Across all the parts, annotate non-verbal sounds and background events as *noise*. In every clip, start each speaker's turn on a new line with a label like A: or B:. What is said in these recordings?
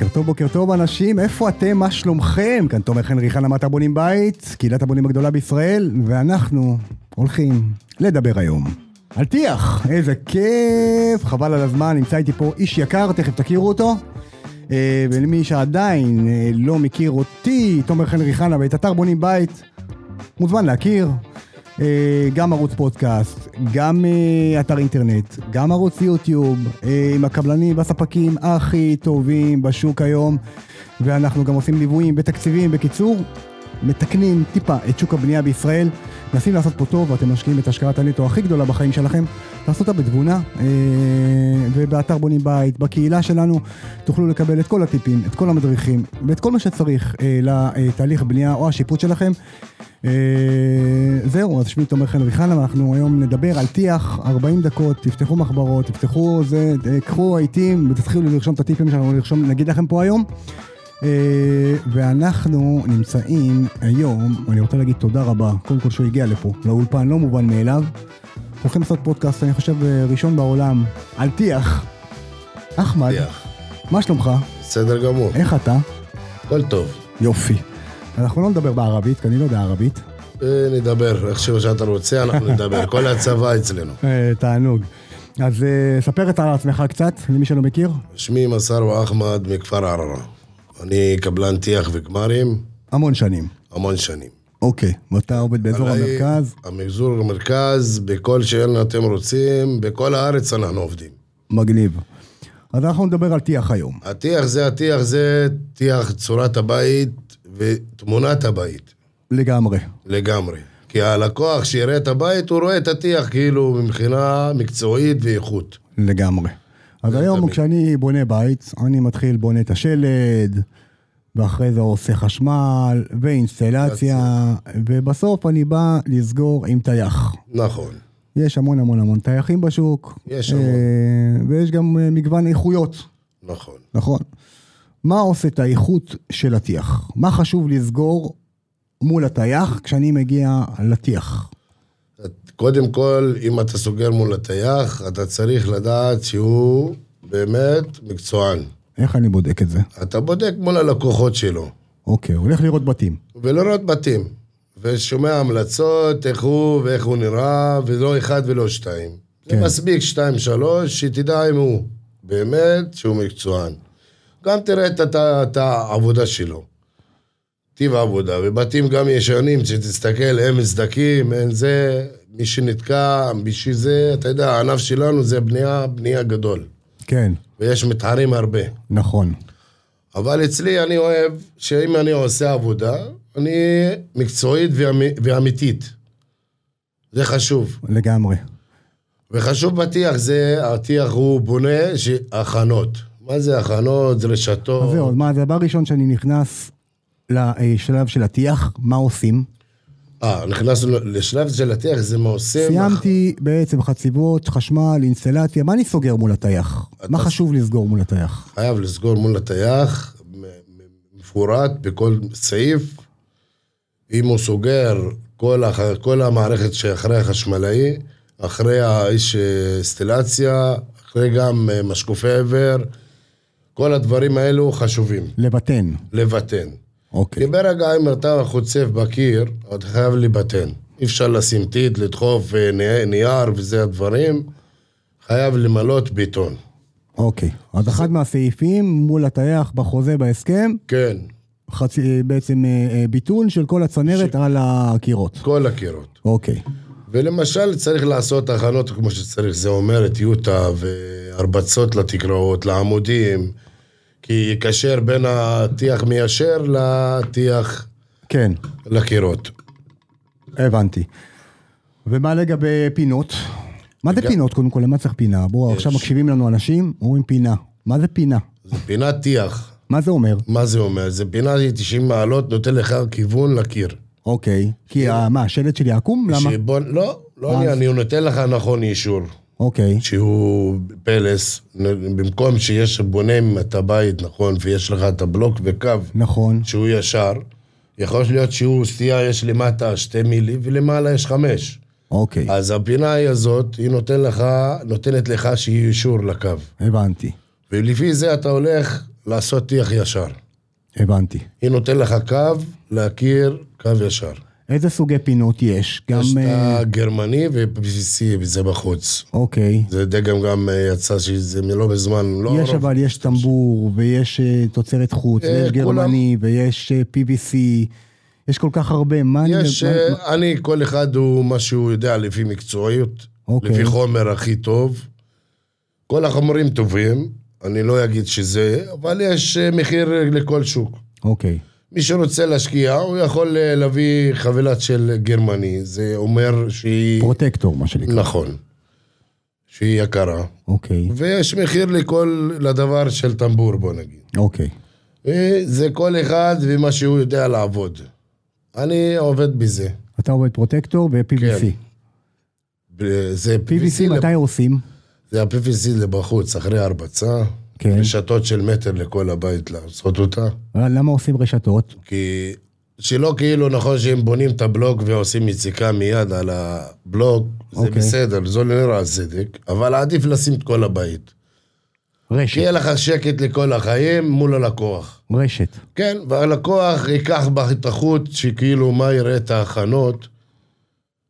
A: בוקר טוב, בוקר טוב אנשים, איפה אתם? מה שלומכם? כאן תומר חן ריחן, עמדת הבונים בית, קהילת הבונים הגדולה בישראל, ואנחנו הולכים לדבר היום. על טיח, איזה כיף, חבל על הזמן, נמצא איתי פה איש יקר, תכף תכירו אותו. אה, ולמי שעדיין אה, לא מכיר אותי, תומר חן ריחנה ואת אתר בונים בית, מוזמן להכיר. אה, גם ערוץ פודקאסט, גם אה, אתר אינטרנט, גם ערוץ יוטיוב, אה, עם הקבלנים והספקים הכי טובים בשוק היום, ואנחנו גם עושים ליוויים ותקציבים, בקיצור, מתקנים טיפה את שוק הבנייה בישראל, מנסים לעשות פה טוב, ואתם משקיעים את השקעת הנטו הכי גדולה בחיים שלכם, תעשו אותה בתבונה, אה, ובאתר בונים בית, בקהילה שלנו, תוכלו לקבל את כל הטיפים, את כל המדריכים, ואת כל מה שצריך אה, לתהליך בנייה או השיפוט שלכם. אה, זהו, אז שמי תומר חן ריחנה, ואנחנו היום נדבר על טיח, 40 דקות, תפתחו מחברות, תפתחו זה, אה, קחו עיתים ותתחילו לרשום את הטיפים שאנחנו נרשום, נגיד לכם פה היום. אה, ואנחנו נמצאים היום, אני רוצה להגיד תודה רבה, קודם כל שהוא הגיע לפה, לאולפן, לא מובן מאליו. אנחנו הולכים לעשות פודקאסט, אני חושב, אה, ראשון בעולם, על טיח. אחמד,
B: יח,
A: מה שלומך?
B: בסדר גמור,
A: איך אתה?
B: הכל טוב.
A: יופי. אנחנו לא נדבר בערבית, כי אני לא יודע ערבית.
B: אה, נדבר איך שהוא שאתה רוצה, אנחנו נדבר. כל הצבא אצלנו.
A: אה, תענוג. אז אה, ספר את על עצמך קצת, למי שלא מכיר.
B: שמי מסארו אחמד מכפר ערערה. אני קבלן טיח וגמרים
A: המון שנים.
B: המון שנים.
A: אוקיי, ואתה עובד באזור
B: עליי-
A: המרכז.
B: המגזור המרכז, בכל שאלה אתם רוצים, בכל הארץ אנחנו עובדים.
A: מגניב. אז אנחנו נדבר על טיח היום.
B: הטיח זה הטיח, זה טיח צורת הבית ותמונת הבית,
A: לגמרי.
B: לגמרי. כי הלקוח שיראה את הבית, הוא רואה את הטיח כאילו מבחינה מקצועית ואיכות.
A: לגמרי. אז היום
B: תמיד.
A: כשאני בונה בית, אני מתחיל בונה את השלד, ואחרי זה עושה חשמל, ואינסטלציה, ובסוף אני בא לסגור עם טייח.
B: נכון.
A: יש המון המון המון טייחים בשוק.
B: יש המון.
A: אה, ויש גם אה, מגוון איכויות,
B: נכון.
A: נכון. מה עושה את האיכות של הטיח? מה חשוב לסגור מול הטייח כשאני מגיע לטיח?
B: את- קודם כל, אם אתה סוגר מול הטייח, אתה צריך לדעת שהוא באמת מקצוען.
A: איך אני בודק את זה?
B: אתה בודק מול הלקוחות שלו,
A: אוקיי, הולך לראות בתים.
B: ולראות בתים, ושומע המלצות, איך הוא ואיך הוא נראה, ולא אחד ולא שתיים.
A: כן.
B: זה מספיק שתיים, שלוש, שתדע אם הוא באמת שהוא מקצוען. גם תראה את, את, את העבודה שלו. טיב העבודה, ובתים גם ישנים, שתסתכל, אין מסדקים, אין זה, מי שנתקע, מי שזה, אתה יודע, הענף שלנו זה בנייה, בנייה גדול,
A: כן,
B: ויש מתחרים הרבה.
A: נכון.
B: אבל אצלי אני אוהב שאם אני עושה עבודה, אני מקצועית ואמ- ואמיתית. זה חשוב.
A: לגמרי.
B: וחשוב בטיח זה, הטיח הוא בונה ש- הכנות. מה זה הכנות? זה
A: אז
B: רשתות.
A: זהו, אז מה, זה הדבר הראשון שאני נכנס לשלב של הטיח, מה עושים?
B: אה, נכנסנו לשלב של הטיח, זה מה עושים.
A: סיימתי בעצם חציבות, חשמל, אינסטלציה, מה אני סוגר מול הטייח? מה חשוב לסגור מול הטייח?
B: חייב לסגור מול הטייח, מ- מ- מפורט בכל סעיף. אם הוא סוגר כל, הח... כל המערכת שאחרי החשמלאי, אחרי האיש אה, סטילציה, אחרי גם אה, משקופי עבר, כל הדברים האלו חשובים,
A: לבטן.
B: לבטן. כי
A: אוקיי.
B: ברגע אם אתה חוצב בקיר, אתה חייב לבטן. אי אפשר לשים טיט, לדחוף אה, ני- נייר וזה הדברים, חייב למלות בטון.
A: אוקיי. אז אחד מהסעיפים מול הטייח בחוזה בהסכם,
B: כן,
A: חצי, בעצם אה, אה, ביטול של כל הצנרת על הקירות.
B: כל הקירות.
A: אוקיי.
B: ולמשל, צריך לעשות הכנות כמו שצריך, זה אומר את יוטה והרבצות לתקרות, לעמודים, כי יקשר בין הטיח מיישר לטיח
A: כן,
B: לקירות.
A: הבנתי. ומה לגבי פינות? מה זה
B: רגע.
A: פינות קודם כל? למה צריך פינה? בואו, עכשיו מקשיבים לנו אנשים, אומרים פינה. מה זה פינה?
B: זה פינת טיח,
A: מה זה אומר?
B: מה זה אומר? זה פינה שהיא 90 מעלות, נותן לך כיוון לקיר.
A: אוקיי. כי ה- מה, השלט שלי עקום? למה?
B: שבוא, לא, לא, אני, אני נותן לך נכון אישור,
A: אוקיי.
B: שהוא פלס, נ- במקום שיש בונים את הבית, נכון, ויש לך את הבלוק וקו.
A: נכון.
B: שהוא ישר, יכול להיות שהוא סטייה יש למטה שתי מילי ולמעלה יש חמש.
A: אוקיי.
B: אז הפינה היא הזאת, היא נותן לך, נותנת לך שיהיה אישור לקו.
A: הבנתי.
B: ולפי זה אתה הולך לעשות טיח ישר.
A: הבנתי.
B: היא נותן לך קו, להכיר קו ישר.
A: איזה סוגי פינות יש? גם...
B: יש את
A: אה,
B: הגרמני ו-BBC, זה בחוץ.
A: אוקיי.
B: זה דגם גם אה, יצא שזה לא מזמן, לא...
A: יש אבל, יש טמבור, ויש אה, תוצרת חוץ,
B: אה,
A: ויש
B: כולם.
A: גרמני, ויש אה, PVC, יש כל כך הרבה, מה אני...
B: יש,
A: מה-
B: אה,
A: מה-
B: אני, כל אחד הוא מה שהוא יודע לפי מקצועיות,
A: אוקיי.
B: לפי חומר הכי טוב. כל החומרים טובים, אני לא אגיד שזה, אבל יש אה, מחיר אה, לכל שוק.
A: אוקיי,
B: מי שרוצה להשקיע, הוא יכול אה, להביא חבילה של גרמני, זה אומר שהיא...
A: פרוטקטור, מה שנקרא.
B: נכון. שהיא יקרה.
A: אוקיי,
B: ויש מחיר לכל, לדבר של טמבור, בוא נגיד. אה,
A: אוקיי.
B: זה כל אחד ומה שהוא יודע לעבוד. אני עובד בזה.
A: אתה עובד פרוטקטור
B: כן.
A: ו-PVC.
B: ב- זה PVC,
A: PVC
B: לב-
A: מתי עושים?
B: זה ה-PVC לבחוץ, אחרי הרבצה.
A: כן.
B: רשתות של מטר לכל הבית לעשות אותה.
A: למה עושים רשתות?
B: כי שלא כאילו נכון שהם בונים את הבלוק ועושים יציקה מיד על הבלוק, זה
A: אוקיי.
B: בסדר, זו לא נראה צדק, אבל עדיף לשים את כל הבית.
A: רשת,
B: שיהיה לך שקט לכל החיים מול הלקוח.
A: רשת.
B: כן, והלקוח ייקח בך את החוט שכאילו מה יראה את ההכנות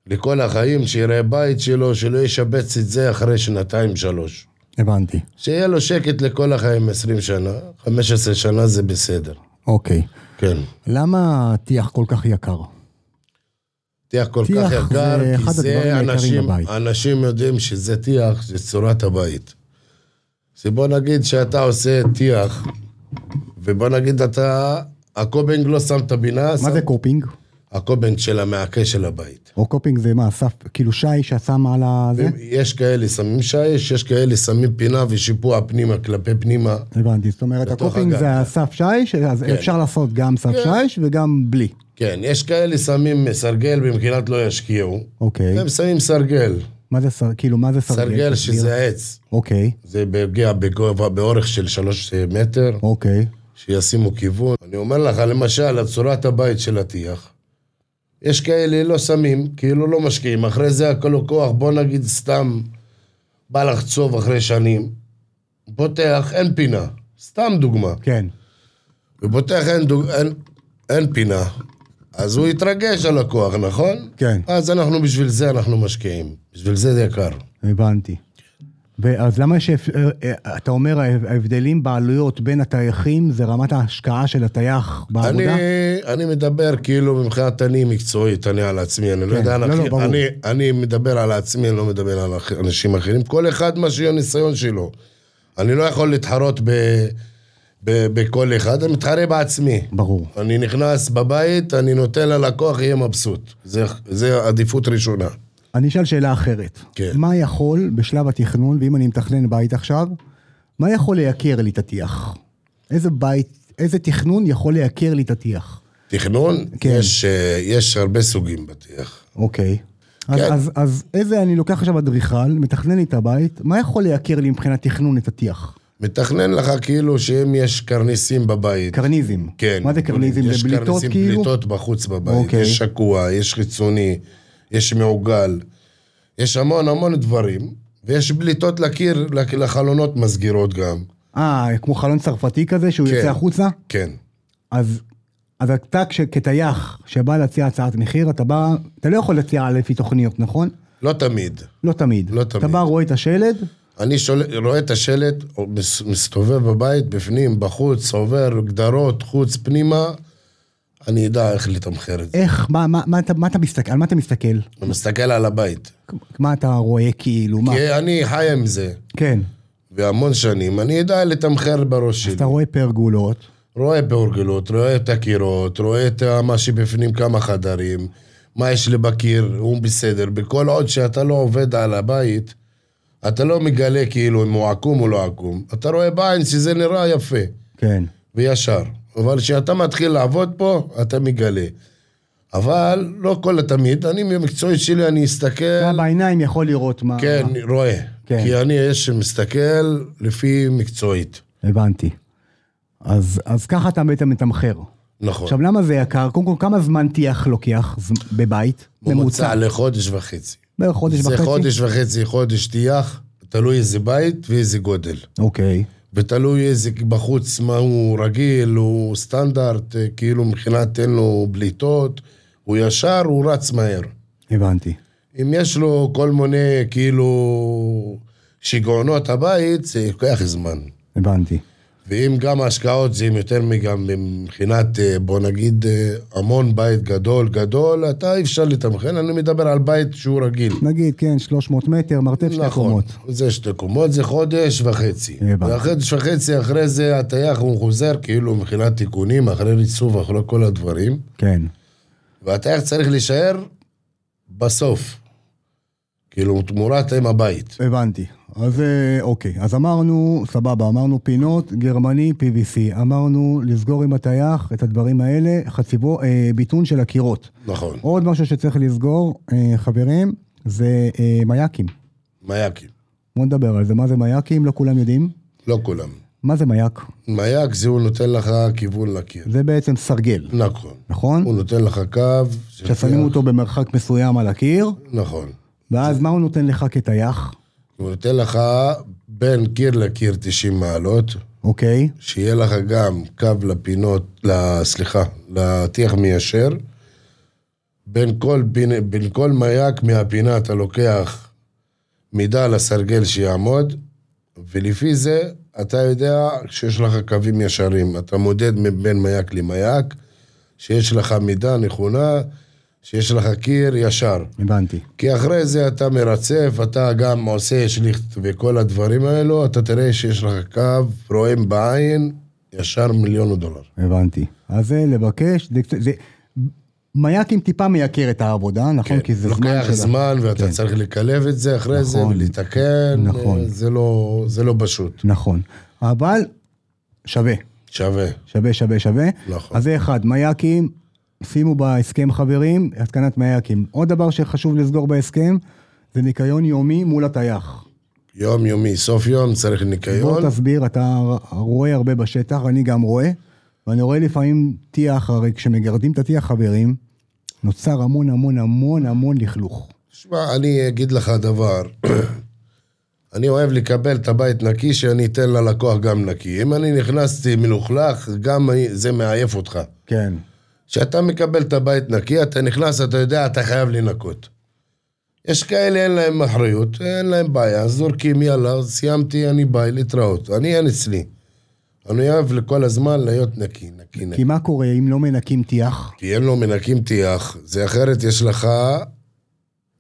B: לכל החיים, שיראה בית שלו, שלא ישבץ את זה אחרי שנתיים-שלוש.
A: הבנתי,
B: שיהיה לו שקט לכל החיים 20 שנה, 15 שנה זה בסדר.
A: אוקיי.
B: כן.
A: למה טיח כל כך יקר?
B: טיח כל
A: טיח
B: כך יקר,
A: זה אחד
B: כי
A: הדברים
B: זה
A: היקרים
B: אנשים,
A: בבית.
B: אנשים יודעים שזה טיח, זה צורת הבית. שבוא נגיד שאתה עושה טיח, ובוא נגיד אתה, הקובנג לא שם את הבינה,
A: מה
B: שם-
A: זה קופינג?
B: הקובנג של המעקה של הבית.
A: או קופינג זה מה, סף, כאילו שי ששם על ה... זה?
B: יש כאלה שמים שיש, יש כאלה שמים פינה ושיפוע פנימה כלפי פנימה.
A: הבנתי, זאת אומרת,
B: בתוך
A: הקופינג
B: הגג.
A: זה הסף שיש, אז אפשר לעשות גם סף שיש וגם בלי.
B: כן, יש כאלה שמים סרגל במכינת לא ישקיעו.
A: אוקיי.
B: הם שמים סרגל,
A: מה זה סר... כאילו, מה זה סרגל?
B: סרגל
A: תסביר.
B: שזה עץ.
A: אוקיי,
B: זה פגיע בגובה, באורך של שלוש אה, מטר,
A: אוקיי.
B: שישימו כיוון. אני אומר לך, למשל, הצורת הבית של הטיח, יש כאלה לא שמים, כאילו לא משקיעים. אחרי זה הכל הוא כוח, בוא נגיד סתם בא לחצוב אחרי שנים, פותח, אין פינה. סתם דוגמה.
A: כן.
B: ופותח אין, דוג... אין, אין פינה, אז הוא יתרגש הלקוח, נכון?
A: כן.
B: אז אנחנו בשביל זה אנחנו משקיעים, בשביל זה זה יקר.
A: הבנתי. ואז למה יש, אה, אתה אומר, ההבדלים בעלויות בין הטייחים זה רמת ההשקעה של הטייח
B: אני,
A: בעבודה?
B: אני מדבר כאילו מבחינת אני מקצועית, אני על עצמי, אני כן. לא יודע על
A: לא, לא,
B: אחי-
A: ברור.
B: אני, אני מדבר על עצמי, אני לא מדבר על אח- אנשים אחרים, כל אחד מה שיהיה הניסיון שלו. אני לא יכול להתחרות ב, ב, בכל אחד, אני מתחרה בעצמי.
A: ברור.
B: אני נכנס בבית, אני נותן ללקוח, יהיה מבסוט. זה, זה עדיפות ראשונה.
A: אני אשאל שאלה אחרת.
B: כן.
A: מה יכול בשלב התכנון, ואם אני מתכנן בית עכשיו, מה יכול לייקר לי את הטיח? איזה בית, איזה תכנון יכול לייקר לי את הטיח?
B: תכנון?
A: כן.
B: יש, אה, יש הרבה סוגים בטיח.
A: אוקיי. אז,
B: כן.
A: אז, אז איזה אני לוקח עכשיו אדריכל, מתכנן לי את הבית, מה יכול לייקר לי מבחינת תכנון את הטיח?
B: מתכנן לך כאילו שאם יש קרניסים בבית.
A: קרניזם.
B: כן.
A: מה זה קרניזם? זה
B: יש
A: בליטות
B: קרניסים
A: כאילו?
B: בליטות בחוץ בבית.
A: אוקיי.
B: יש שקוע, יש חיצוני, יש מעוגל. יש המון המון דברים. ויש בליטות לקיר, לק- לחלונות מסגירות גם.
A: אה, כמו חלון צרפתי כזה שהוא
B: כן.
A: יוצא החוצה?
B: כן.
A: אז, אז אתה כש- כטייח שבא להציע הצעת מחיר, אתה בא, אתה לא יכול להציע לפי תוכניות, נכון?
B: לא תמיד.
A: לא תמיד.
B: לא תמיד.
A: אתה בא, רואה את השלד,
B: אני שול... רואה את השלט, או מס... מסתובב בבית, בפנים, בחוץ, עובר, גדרות, חוץ, פנימה. אני אדע איך לתמחר את זה.
A: איך, מה, מה, מה, אתה, מה אתה מסתכל, על מה אתה מסתכל?
B: אני מסתכל על הבית.
A: מה אתה רואה כאילו, מה?
B: כי אני חי עם זה,
A: כן.
B: והמון שנים, אני יודע לתמחר בראש שלי.
A: אתה רואה פרגולות,
B: רואה פרגולות, רואה את הקירות, רואה את ה- מה שבפנים כמה חדרים, מה יש לי בקיר, הוא בסדר. בכל עוד שאתה לא עובד על הבית, אתה לא מגלה כאילו אם הוא עקום או לא עקום. אתה רואה בעין שזה נראה יפה
A: כן.
B: וישר. אבל כשאתה מתחיל לעבוד פה, אתה מגלה. אבל לא כל התמיד, אני במקצועית שלי, אני אסתכל...
A: אתה בעיניים יכול לראות מה...
B: כן, רואה.
A: כן.
B: כן. כי אני יש שמסתכל לפי מקצועית.
A: הבנתי. אז, אז ככה אתה בעצם מתמחר.
B: נכון.
A: עכשיו, למה זה יקר? קודם כל, כמה זמן טיח לוקח ז- בבית?
B: ממוצע לחודש וחצי.
A: בערך חודש
B: זה
A: וחצי?
B: חודש וחצי, חודש טייח, תלוי איזה בית ואיזה גודל.
A: אוקיי.
B: ותלוי איזה בחוץ, מה הוא רגיל, הוא סטנדרט, אה, כאילו מבחינת אין לו בליטות, הוא ישר, הוא רץ מהר.
A: הבנתי.
B: אם יש לו כל מיני, כאילו, שיגעונות הבית, זה לוקח זמן.
A: הבנתי.
B: ואם גם ההשקעות זה יותר מגם מבחינת, אה, בוא נגיד, אה, המון בית גדול גדול, אתה אי אפשר לתמכן, אני מדבר על בית שהוא רגיל.
A: נגיד, כן, 300 מטר, מרתף שתי
B: נכון.
A: קומות.
B: זה שתי קומות, זה חודש וחצי.
A: הבנתי.
B: וחודש וחצי אחרי זה הטייח הוא חוזר, כאילו מבחינת תיקונים, אחרי ריצוף, אחרי כל הדברים.
A: כן.
B: והטייח צריך להישאר בסוף. כאילו, תמורת עם הבית.
A: הבנתי. אז אה, אוקיי, אז אמרנו, סבבה, אמרנו פינות, גרמני, PVC. אמרנו לסגור עם הטייח את הדברים האלה, חציבו, אה, ביטון של הקירות.
B: נכון,
A: עוד משהו שצריך לסגור, אה, חברים, זה אה, מייקים.
B: מייקים.
A: בוא נדבר על זה. מה זה מייקים? לא כולם יודעים.
B: לא כולם.
A: מה זה מייק?
B: מייק זה הוא נותן לך כיוון לקיר.
A: זה בעצם סרגל,
B: נכון.
A: נכון?
B: הוא נותן לך קו.
A: ששמים אותו במרחק מסוים על הקיר,
B: נכון.
A: ואז מה הוא נותן לך כטייח?
B: הוא נותן לך בין קיר לקיר 90 מעלות,
A: אוקיי,
B: שיהיה לך גם קו לפינות, ל- סליחה, לטיח מיישר. בין כל, בין, בין כל מייק מהפינה אתה לוקח מידה לסרגל שיעמוד, ולפי זה אתה יודע שיש לך קווים ישרים. אתה מודד בין מייק למייק, שיש לך מידה נכונה, שיש לך קיר ישר.
A: הבנתי.
B: כי אחרי זה אתה מרצף, אתה גם עושה שליחת וכל הדברים האלו, אתה תראה שיש לך קו, רואים בעין, ישר מיליון דולר.
A: הבנתי. אז זה לבקש, זה קצת, זה... מייקים טיפה מייקר את העבודה, נכון? כי זה זמן
B: כן, לוקח
A: שלה.
B: זמן ואתה כן. צריך לקלב את זה אחרי זה,
A: נכון.
B: ולתקן,
A: נכון.
B: אה, זה, לא, זה לא פשוט.
A: נכון. אבל שווה.
B: שווה.
A: שווה, שווה, שווה.
B: נכון.
A: אז זה אחד, מייקים, שימו בהסכם חברים, התקנת מייקים. עוד דבר שחשוב לסגור בהסכם, זה ניקיון יומי מול הטייח.
B: יום יומי, סוף יום, צריך
A: בוא
B: ניקיון.
A: תסביר, אתה רואה הרבה בשטח, אני גם רואה, ואני רואה לפעמים טיח, הרי כשמגרדים את הטיח, חברים, נוצר המון המון המון המון לכלוך.
B: שמע, אני אגיד לך דבר. *clears throat* אני אוהב לקבל את הבית נקי, שאני אתן ללקוח גם נקי. אם אני נכנסתי מלוכלך, גם זה מעייף אותך.
A: כן.
B: כשאתה מקבל את הבית נקי, אתה נכנס, אתה יודע, אתה חייב לנקות. יש כאלה, אין להם אחריות, אין להם בעיה, אז זורקים, יאללה, סיימתי, אני ביי, להתראות. אני, אין אצלי. אני אוהב לכל הזמן להיות נקי, נקי,
A: כי
B: נקי.
A: מה קורה אם לא מנקים טיח?
B: כי אין לו מנקים טיח, זה אחרת יש לך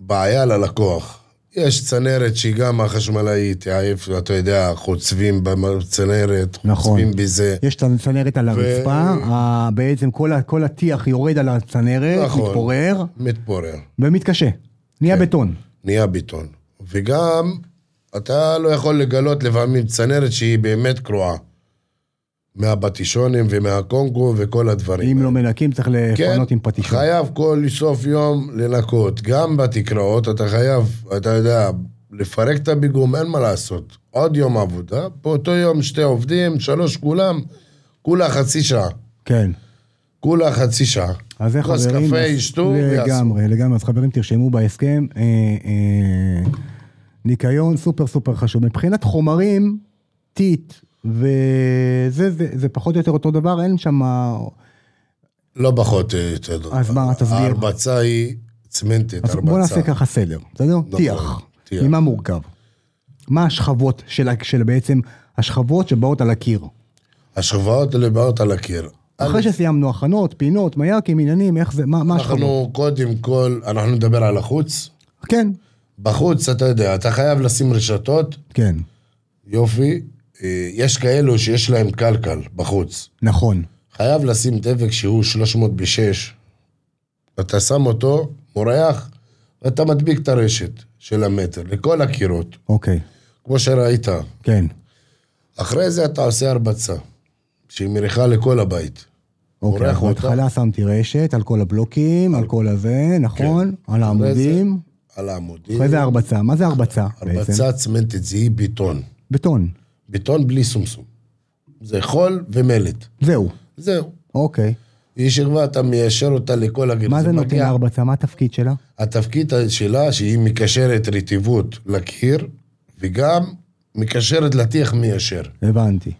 B: בעיה ללקוח. יש צנרת שהיא גם החשמלאית, תעייף, אתה יודע, חוצבים בצנרת,
A: נכון.
B: חוצבים בזה.
A: יש את הצנרת על הרצפה, ה- בעצם כל ה- כל הטיח יורד על הצנרת,
B: נכון. כן.
A: מתפורר,
B: מתפורר.
A: ומתקשה. נהיה בטון.
B: נהיה ביטון. וגם, אתה לא יכול לגלות לפעמים צנרת שהיא באמת קרועה. מהפטישונים ומהקונגו וכל הדברים. כן,
A: אם לא מנקים צריך לפנות עם פטישון.
B: חייב כל סוף יום לנקות. גם בתקראות אתה חייב, אתה יודע, לפרק את הפיגום, אין מה לעשות. עוד יום עבודה, באותו יום שתי עובדים, שלוש כולם, כולה חצי שעה.
A: כן.
B: כולה חצי שעה.
A: אז זה
B: כוס
A: חברים,
B: קפה,
A: אז-
B: ישתו ויעשו.
A: לגמרי, לגמרי. אז חברים, תרשמו בהסכם. אה, אה, ניקיון סופר סופר חשוב. מבחינת חומרים, טיט, וזה זה, זה פחות או יותר אותו דבר, אין שם...
B: לא פחות, אה, אתה יודע.
A: אז מה, תסביר.
B: ההרבצה היא צמנטית,
A: אז
B: הרבצה.
A: בוא נעשה ככה סדר, בסדר? טיח.
B: נכון, טיח.
A: ממה מורכב? מה השכבות של, ה- של בעצם, השכבות שבאות על הקיר?
B: השכבות האלה באות על הקיר.
A: אחרי שסיימנו הכנות, פינות, מייקים, עניינים, איך זה, מה, מה השכבות?
B: אנחנו קודם כל, אנחנו נדבר על החוץ.
A: כן,
B: בחוץ, אתה יודע, אתה חייב לשים רשתות,
A: כן,
B: יופי. אה, יש כאלו שיש להם קלקל בחוץ.
A: נכון.
B: חייב לשים דבק שהוא 300 ב-6. אתה שם אותו, מורח, ואתה מדביק את הרשת של המטר לכל הקירות,
A: אוקיי,
B: כמו שראית.
A: כן,
B: אחרי זה אתה עושה הרבצה, שהיא מריחה לכל הבית.
A: אוקיי,
B: מורח
A: אז
B: אותה.
A: בהתחלה שמתי רשת על כל הבלוקים, על כל הזה, נכון?
B: כן.
A: על העמודים,
B: על העמודים.
A: אחרי זה הרבצה. מה זה הרבצה בעצם?
B: הרבצה צמנטית זה היא ביטון.
A: בטון.
B: ביטון בלי סומסום. זה חול ומלט.
A: זהו,
B: זהו.
A: אוקיי.
B: היא שכבה, אתה מיישר אותה לכל הגיר.
A: מה זה נותן
B: מגיע-
A: הרבצה? מה התפקיד שלה?
B: התפקיד שלה שהיא מקשרת רטיבות לקיר, וגם מקשרת לטיח מיישר.
A: הבנתי.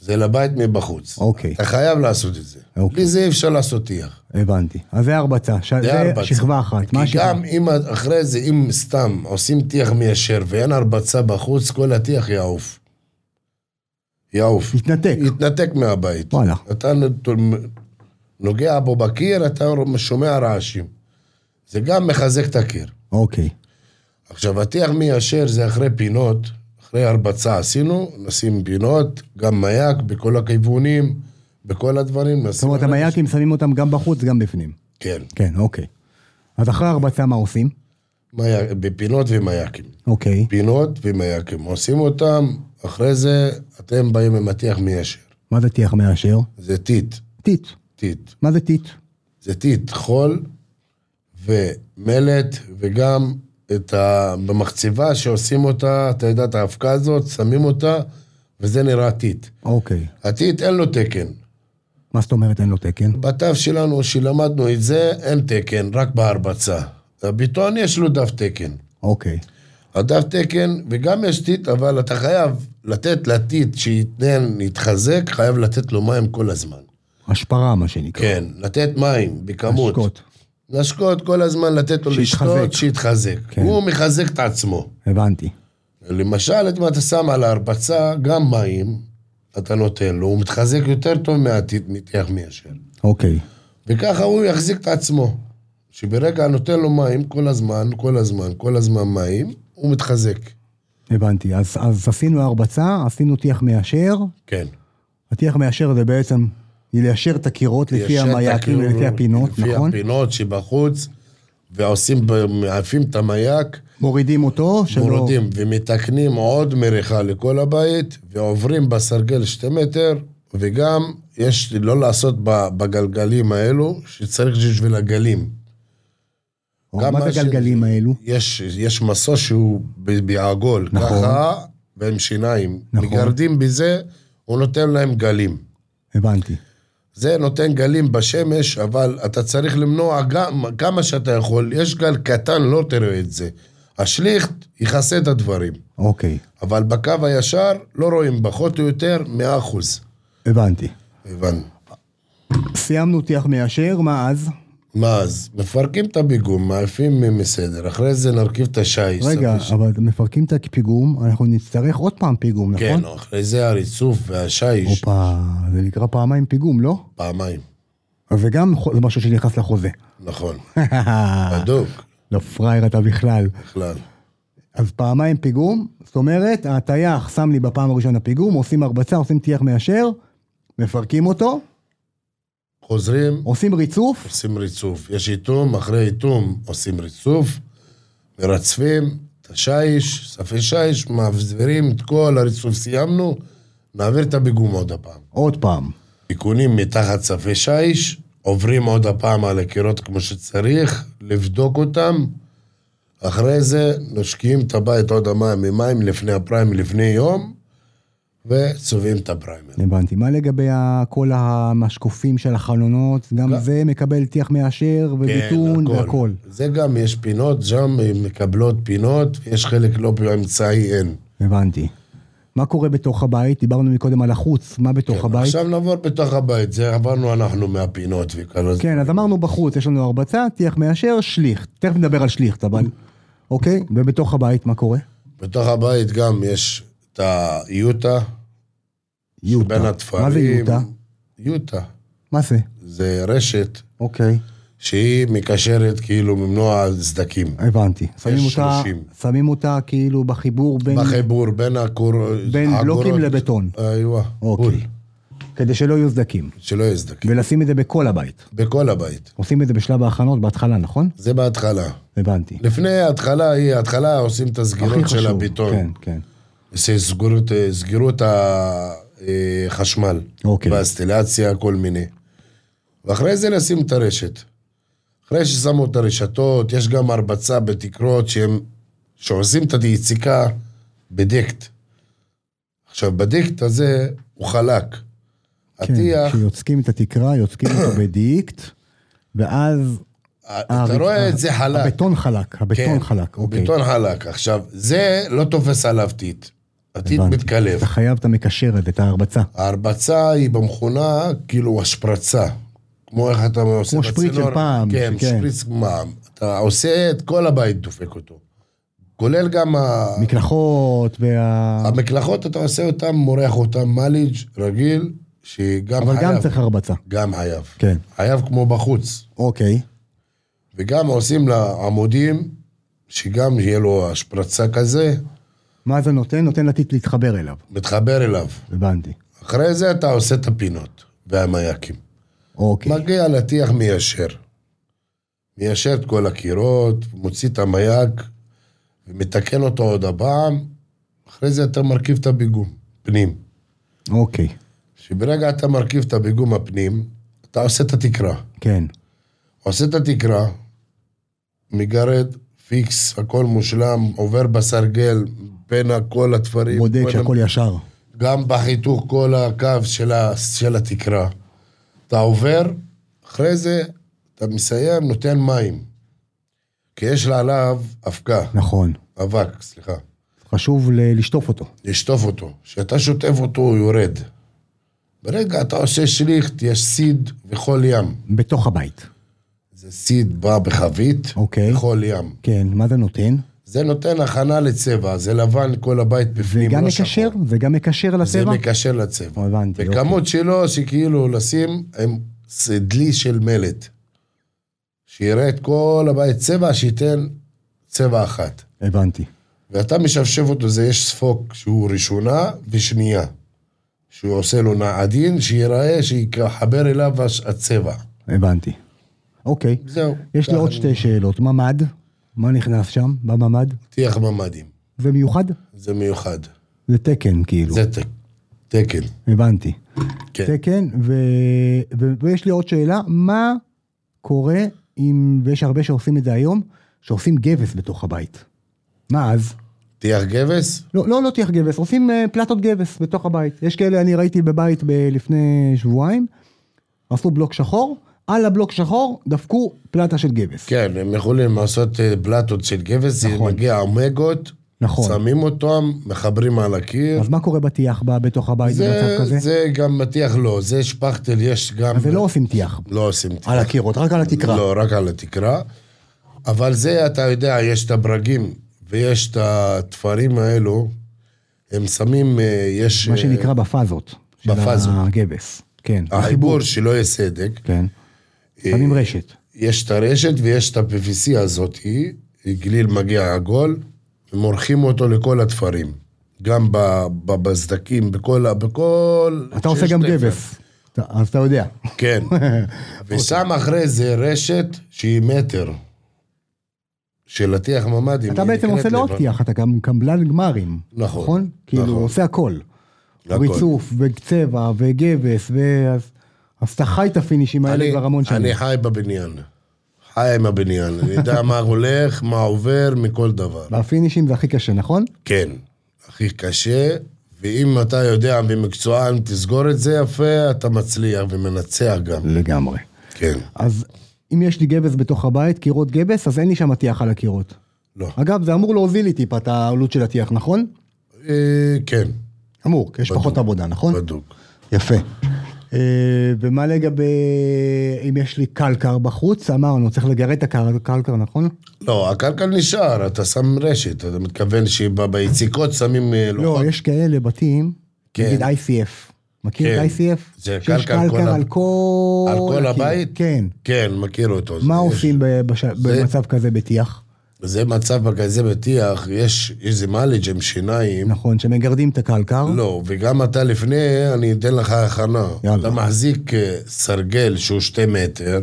B: זה לבית מבחוץ.
A: אוקיי.
B: אתה חייב לעשות את זה.
A: אוקיי.
B: בלי זה אי אפשר לעשות טיח.
A: הבנתי. אז זה הרבצה, ש... זה,
B: הרבצה.
A: שכבה אחת.
B: כי
A: מה השכבה?
B: גם אם אחרי זה, אם סתם עושים טיח מיישר ואין הרבצה בחוץ, כל הטיח יעוף. יעוף.
A: יתנתק.
B: יתנתק מהבית.
A: וואלה.
B: אתה נוגע בו בקיר, אתה שומע רעשים. זה גם מחזק את הקיר.
A: אוקיי.
B: עכשיו, הטיח מיישר זה אחרי פינות, אחרי הרבצה עשינו, נשים פינות, גם מייק בכל הכיוונים, בכל הדברים.
A: זאת אומרת, המייקים שמים אותם גם בחוץ, גם בפנים.
B: כן,
A: כן, אוקיי. אז אחרי הרבצה מה עושים?
B: מייק, בפינות ומייקים.
A: אוקיי.
B: פינות ומייקים. עושים אותם, אחרי זה אתם באים עם הטיח מיישר.
A: מה זה טיח מאשר?
B: זה טיט,
A: טיט.
B: טיט.
A: מה זה טיט?
B: זה טיט חול ומלט, וגם את ה... במחצבה שעושים אותה, אתה יודע, את האבקה הזאת, שמים אותה, וזה נראה טיט.
A: אוקיי.
B: הטיט אין לו תקן.
A: מה זאת אומרת אין לו תקן?
B: בתו שלנו, שלמדנו את זה, אין תקן, רק בהרבצה. הביטון יש לו דף תקן.
A: אוקיי.
B: הדף תקן, וגם יש טיט, אבל אתה חייב לתת לטיט שיתנן, יתחזק, חייב לתת לו מים כל הזמן.
A: השפרה, מה שנקרא.
B: כן, לתת מים בכמות.
A: השקות.
B: נשקות כל הזמן, לתת לו
A: שיתחזק.
B: לשתות, שיתחזק.
A: כן.
B: הוא מחזק את עצמו.
A: הבנתי.
B: למשל, אם אתה שם על ההרבצה גם מים, אתה נותן לו, הוא מתחזק יותר טוב מהטיט, מטיח מיישר.
A: אוקיי.
B: וככה הוא יחזיק את עצמו. שברגע נותן לו מים כל הזמן, כל הזמן, כל הזמן מים, הוא מתחזק.
A: הבנתי. אז, אז עשינו הרבצה, עשינו טיח מאשר.
B: כן.
A: הטיח מאשר זה בעצם ליישר את הקירות לפי
B: יש את
A: המייקים
B: הכיוון,
A: ולפי הפינות,
B: לפי
A: נכון?
B: הפינות שבחוץ, ועושים, מעפים את המייק,
A: מורידים אותו, שלא...
B: מורדים ומתקנים עוד מריחה לכל הבית, ועוברים בסרגל שתי מטר, וגם יש לא לעשות ב- בגלגלים האלו, שצריך בשביל הגלים.
A: או,
B: גם
A: מה זה
B: מה ש-
A: הגלגלים האלו?
B: יש, יש מסוע שהוא ב- בעגול,
A: נכון.
B: ככה, ועם שיניים.
A: נכון.
B: מגרדים בזה, הוא נותן להם גלים.
A: הבנתי.
B: זה נותן גלים בשמש, אבל אתה צריך למנוע גם, כמה שאתה יכול. יש גל קטן, לא תראה את זה. השליכט יכסה את הדברים.
A: אוקיי.
B: אבל בקו הישר לא רואים פחות או יותר 100%.
A: הבנתי.
B: הבנו.
A: סיימנו טיח מיישר, מה אז?
B: מה אז? מפרקים את הפיגום, מעיפים מסדר, אחרי זה נרכיב את השיש. כן,
A: רגע, נכון?
B: סבבה.
A: אבל מפרקים את הפיגום, אנחנו נצטרך עוד פעם פיגום, נכון?
B: כן, אחרי זה הריצוף והשיש,
A: הופה, זה נקרא פעמיים פיגום, לא?
B: פעמיים.
A: אז זה גם חו- זה משהו שנכנס
B: *laughs*
A: לחוזה.
B: נכון, בדוק,
A: לא פראייר אתה בכלל.
B: בכלל.
A: אז פעמיים פיגום, זאת אומרת, הטייח שם לי בפעם הראשונה פיגום, עושים הרבצה, עושים טיח מיישר, מפרקים אותו,
B: חוזרים,
A: עושים ריצוף,
B: עושים ריצוף. יש איתום, אחרי איתום עושים ריצוף, מרצפים את השיש, ספי שיש, מעבירים את כל הריצוף, סיימנו, נעביר את הפיגום עוד הפעם.
A: עוד פעם.
B: תיקונים מתחת ספי שיש, עוברים עוד הפעם על הקירות כמו שצריך, לבדוק אותם. אחרי זה נושקים את הבית עוד המים ממים לפני הפריים, לפני יום, וצובעים את הפריימר.
A: הבנתי. מה לגבי ה- כל המשקופים של החלונות? גם
B: לא. כן,
A: זה מקבל טיח מיישר וביטון
B: הכל.
A: והכל.
B: זה גם, יש פינות, שם מקבלות פינות, יש חלק לא אמצעי, אין.
A: הבנתי. מה קורה בתוך הבית? דיברנו מקודם על החוץ, מה בתוך
B: כן,
A: הבית?
B: עכשיו נעבור בתוך הבית, זה עברנו אנחנו מהפינות וכל הזמן.
A: כן, אז אמרנו בחוץ, יש לנו הרבצה, טיח מאשר, שליכט. תכף נדבר על שליכט, אבל...
B: Mm.
A: אוקיי, ובתוך הבית מה קורה?
B: בתוך הבית גם יש את היוטה,
A: יוטה.
B: בין התפרים.
A: מה זה יוטה?
B: יוטה.
A: מה זה?
B: זה רשת
A: אוקיי,
B: שהיא מקשרת כאילו ממנוע סדקים.
A: הבנתי. שמים אותה,
B: שלושים.
A: שמים אותה כאילו בחיבור בין...
B: בחיבור בין הכור...
A: בין
B: האגורות.
A: בלוקים לבטון.
B: איווה,
A: אוקיי.
B: בול.
A: כדי שלא יהיו סדקים.
B: שלא יהיה סדקים.
A: ולשים את זה בכל הבית.
B: בכל הבית.
A: עושים את זה בשלב ההכנות, בהתחלה, נכון?
B: זה בהתחלה.
A: הבנתי.
B: לפני ההתחלה, היא ההתחלה עושים את
A: הכי
B: הסגירות
A: חשוב.
B: של הביטון.
A: כן, כן.
B: סגרו את- סגרו את אה, החשמל.
A: אוקיי.
B: והסטילציה, כל מיני. ואחרי זה לשים את הרשת. אחרי ששמו את הרשתות, יש גם הרבצה בתקרות שהם... שעושים את היציקה בדקט. עכשיו, בדקט הזה הוא חלק.
A: כן,
B: הטיח,
A: כשיוצקים את התקרה, יוצקים
B: *coughs*
A: אותו בדיקט, ואז... אה,
B: אתה רואה את זה חלק.
A: הבטון חלק, הבטון
B: כן,
A: חלק, אוקיי.
B: בטון חלק. עכשיו, זה לא תופס עליו טיט. עתיד
A: הבנתי.
B: מתקלף. אה.
A: אתה חייב את המקשרת, את ההרבצה.
B: ההרבצה היא במכונה, כאילו השפרצה. כמו איך אתה עושה
A: כמו
B: את
A: שפריץ
B: הצינור.
A: של פעם,
B: כן,
A: שכן.
B: שפריץ מע"מ. אתה עושה את כל הבית, דופק אותו. כולל גם ה-
A: מקלחות וה...
B: אה, המקלחות, אתה עושה אותם, מורח אותם מאליג' רגיל, שגם
A: אבל גם
B: חייב.
A: צריך הרבצה.
B: גם חייב.
A: כן.
B: חייב כמו בחוץ.
A: אוקיי.
B: וגם עושים לעמודים, שגם יהיה לו השפרצה כזה,
A: מה זה נותן? נותן לתיק להתחבר אליו.
B: מתחבר אליו.
A: הבנתי.
B: אחרי זה אתה עושה את הפינות והמייקים.
A: אוקיי.
B: מגיע לטיח מיישר. מיישר את כל הקירות, מוציא את המייק, ומתקן אותו עוד הפעם, אחרי זה אתה מרכיב את הפיגום, פנים.
A: אוקיי.
B: שברגע אתה מרכיב את הפיגום הפנים, אתה עושה את התקרה.
A: כן.
B: עושה את התקרה, מגרד, פיקס, הכל מושלם, עובר בסרגל, בין כל התפרים.
A: בודק
B: כל
A: שהכל ישר.
B: גם בחיתוך כל הקו של, ה, של התקרה. אתה עובר, אחרי זה אתה מסיים, נותן מים. כי יש לה עליו אבקה,
A: נכון.
B: אבק, סליחה.
A: חשוב ל- לשטוף אותו.
B: לשטוף אותו. כשאתה שוטף אותו, הוא יורד. ברגע אתה עושה שליכט, יש סיד וכל ים.
A: בתוך הבית.
B: זה סיד בא בחבית,
A: אוקיי.
B: וכל ים.
A: כן. מה זה נותן?
B: זה נותן הכנה לצבע, זה לבן כל הבית בפנים,
A: וגם
B: לא
A: מקשר?
B: שחור.
A: וגם מקשר
B: זה
A: לצבע?
B: מקשר לצבע.
A: הבנתי. אוקיי.
B: בכמות שלו, שכאילו לשים עם דלי של מלט. שיראה את כל הבית צבע, שייתן צבע אחת.
A: הבנתי.
B: ואתה משפשף אותו, זה יש ספוג שהוא ראשונה ושנייה. שהוא עושה לו נעדין, שיראה, שיחבר אליו הש- הצבע.
A: הבנתי. אוקיי.
B: זהו.
A: יש לי
B: ככה
A: עוד
B: אני-
A: שתי שאלות. ממ"ד? מה נכנס שם? בממ"ד?
B: טיח ממ"דים,
A: זה מיוחד?
B: זה מיוחד.
A: זה תקן, כאילו.
B: זה ת- תקן.
A: הבנתי.
B: כן.
A: תקן, ו... ו... ויש לי עוד שאלה, מה קורה אם, ויש הרבה שעושים את זה היום, שעושים גבס בתוך הבית. מה אז?
B: טיח גבס?
A: לא, לא, לא תיח גבס, עושים אה, פלטות גבס בתוך הבית. יש כאלה, אני ראיתי בבית ב... לפני שבועיים, עשו בלוק שחור, על הבלוק שחור דפקו פלטה של גבס.
B: כן, הם יכולים לעשות אה, פלטות של גבס, זה
A: נכון.
B: מגיע אומגות,
A: נכון.
B: שמים אותם, מחברים על הקיר.
A: אז מה קורה בטיח ב- בתוך הבית
B: זה,
A: במצב כזה?
B: זה גם מטיח לא, זה שפכטל, יש גם...
A: אז זה לא עושים טיח.
B: לא עושים תקרה.
A: על הקירות, רק על התקרה.
B: לא, רק על התקרה. אבל זה, אתה יודע, יש את הברגים ויש את התפרים האלו, הם שמים, אה, יש...
A: מה
B: אה,
A: שנקרא בפאזות. של
B: בפאזות.
A: הגבס. כן.
B: אה, החיבור, שלא יהיה סדק.
A: כן. שמים רשת.
B: יש את הרשת ויש את ה-PVC הזאת, גליל מגיע עגול, מורחים אותו לכל התפרים. גם ב- ב- בסדקים, בכל... ה- בכל...
A: אתה עושה
B: שיש
A: גם
B: תפר.
A: גבס. אתה- אז אתה יודע. *laughs*
B: כן. ושם אחרי זה רשת שהיא מטר. של הטיח ממ"דים.
A: אתה
B: היא
A: בעצם
B: נקראת
A: עושה לא רק
B: לבן.
A: טיח, אתה גם קבלן גמרים.
B: נכון,
A: נכון? כאילו,
B: נכון.
A: עושה הכל.
B: הכל.
A: ריצוף, וצבע, וגבס, ואז... אז אתה חי את הפינישים האלה
B: אני-
A: כבר המון שנים.
B: אני חי בבניין. חי עם הבניין. אני יודע מה הולך, מה עובר, מכל דבר.
A: והפינישים זה הכי קשה, נכון?
B: כן, הכי קשה, ואם אתה יודע ומקצוען, תסגור את זה יפה, אתה מצליח ומנצח גם.
A: לגמרי.
B: כן,
A: אז אם יש לי גבס בתוך הבית, קירות גבס, אז אין לי שם טיח על הקירות.
B: לא.
A: אגב, זה אמור להוזיל לי טיפה את העלות של הטיח, נכון?
B: אה, כן,
A: אמור, כי יש פחות עבודה, נכון?
B: בדוק.
A: יפה. אה, ומה לגבי אם יש לי קלקר בחוץ? אמרנו, צריך לגרד את הקר- הקלקר, נכון?
B: לא, הקלקל נשאר, אתה שם רשת, אתה מתכוון שביציקות שמים אה,
A: לא,
B: לוחות.
A: יש כאלה בתים,
B: כן.
A: נגיד ICF. מכיר
B: כן.
A: את ICF?
B: זה
A: שיש
B: קלקר כל ה-
A: על כל...
B: על כל
A: הקיר.
B: הבית?
A: כן.
B: כן, מכיר אותו.
A: מה
B: יש-
A: עושים ב- בש- במצב כזה בטיח?
B: זה מצב כזה בטיח, יש איזה מאלג' עם שיניים.
A: נכון, שמגרדים את הקלקר?
B: לא, וגם אתה לפני, אני אתן לך הכנה.
A: יאללה.
B: אתה מחזיק אה, סרגל שהוא שתי מטר,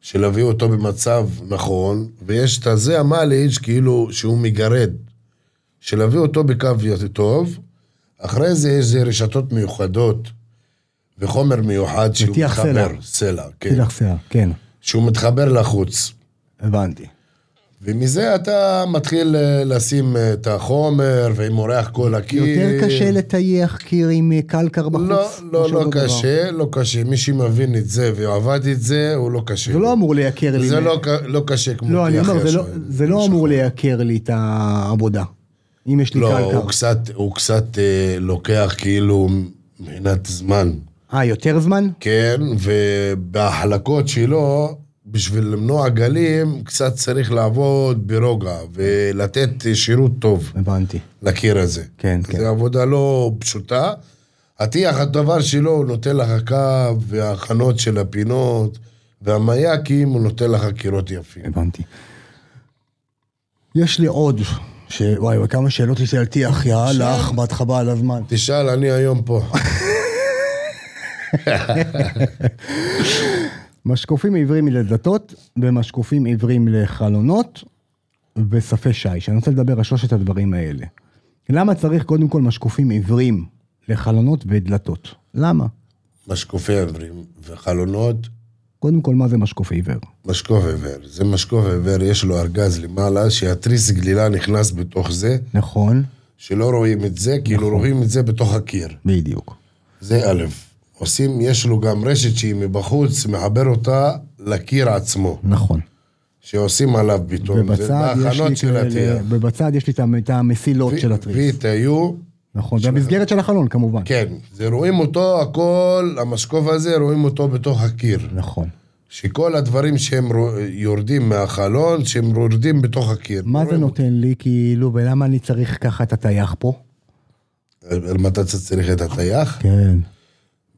B: שלהביא אותו במצב נכון, ויש את הזה המאליג' כאילו שהוא מגרד, שלהביא אותו בקו יותר טוב, אחרי זה יש זה רשתות מיוחדות וחומר מיוחד שהוא
A: מטיח
B: מתחבר,
A: סלע.
B: סלע, כן,
A: תדח שיער, כן.
B: שהוא מתחבר לחוץ.
A: הבנתי.
B: ומזה אתה מתחיל אה, לשים אה, את החומר ועם אורח כל הקיר.
A: יותר קשה לטייח קיר עם אה, קלקר בחוץ?
B: לא,
A: או
B: לא,
A: שאותו
B: לא
A: דבר?
B: קשה, לא קשה. מי שמבין את זה ועבד את זה, הוא לא קשה.
A: זה לא אמור לייקר לי...
B: זה
A: מ-
B: לא ק- לא קשה כמו
A: לא, אני
B: טיח
A: אומר, זה
B: ישר.
A: לא- זה לא אמור לייקר לי את העבודה. אם יש לי
B: לא,
A: קהל
B: הוא
A: קר.
B: קצת, הוא קצת אה, לוקח כאילו מבחינת זמן.
A: אה, יותר זמן?
B: כן, ובהחלקות שלו, בשביל למנוע גלים, קצת צריך לעבוד ברוגע ולתת שירות טוב
A: הבנתי.
B: לקיר הזה.
A: כן,
B: זו
A: כן.
B: עבודה לא פשוטה. הטיח, הדבר שלו, הוא נותן לך קו, וההכנות של הפינות, והמייקים, הוא נותן לך קירות יפים.
A: הבנתי. יש לי עוד, ש... וואי, וואי, כמה שאלות יש לי על טיח, יאללה, אחמד חבל על הזמן.
B: תשאל, אני היום פה. *laughs*
A: משקופים עיוורים לדלתות, ומשקופים עיוורים לחלונות, וספי שיש. אני רוצה לדבר על שלושת הדברים האלה. למה צריך קודם כל משקופים עיוורים לחלונות ודלתות? למה?
B: משקופי עברים וחלונות,
A: קודם כל, מה זה משקוף עיוור?
B: משקוף עיוור. זה משקוף עיוור, יש לו ארגז למעלה, שהתריס גלילה נכנס בתוך זה,
A: נכון,
B: שלא רואים את זה, כאילו רואים את זה בתוך הקיר.
A: בדיוק.
B: זה א', עושים, יש לו גם רשת שהיא מבחוץ, מחבר אותה לקיר עצמו,
A: נכון.
B: שעושים עליו פתאום. זה
A: ובצד יש לי
B: בהכנות של
A: כאלה,
B: הטיח.
A: בבצד יש לי את ה- את המסילות של התריס.
B: ויטיו,
A: נכון, במסגרת של החלון כמובן.
B: כן, זה רואים אותו, הכל, המשקוף הזה, רואים אותו בתוך הקיר.
A: נכון.
B: שכל הדברים שהם רו- יורדים מהחלון, שהם יורדים בתוך הקיר.
A: מה זה
B: רואים
A: נותן לי כאילו, ולמה אני צריך ככה את הטייח פה?
B: על מה אתה צריך את הטייח?
A: כן,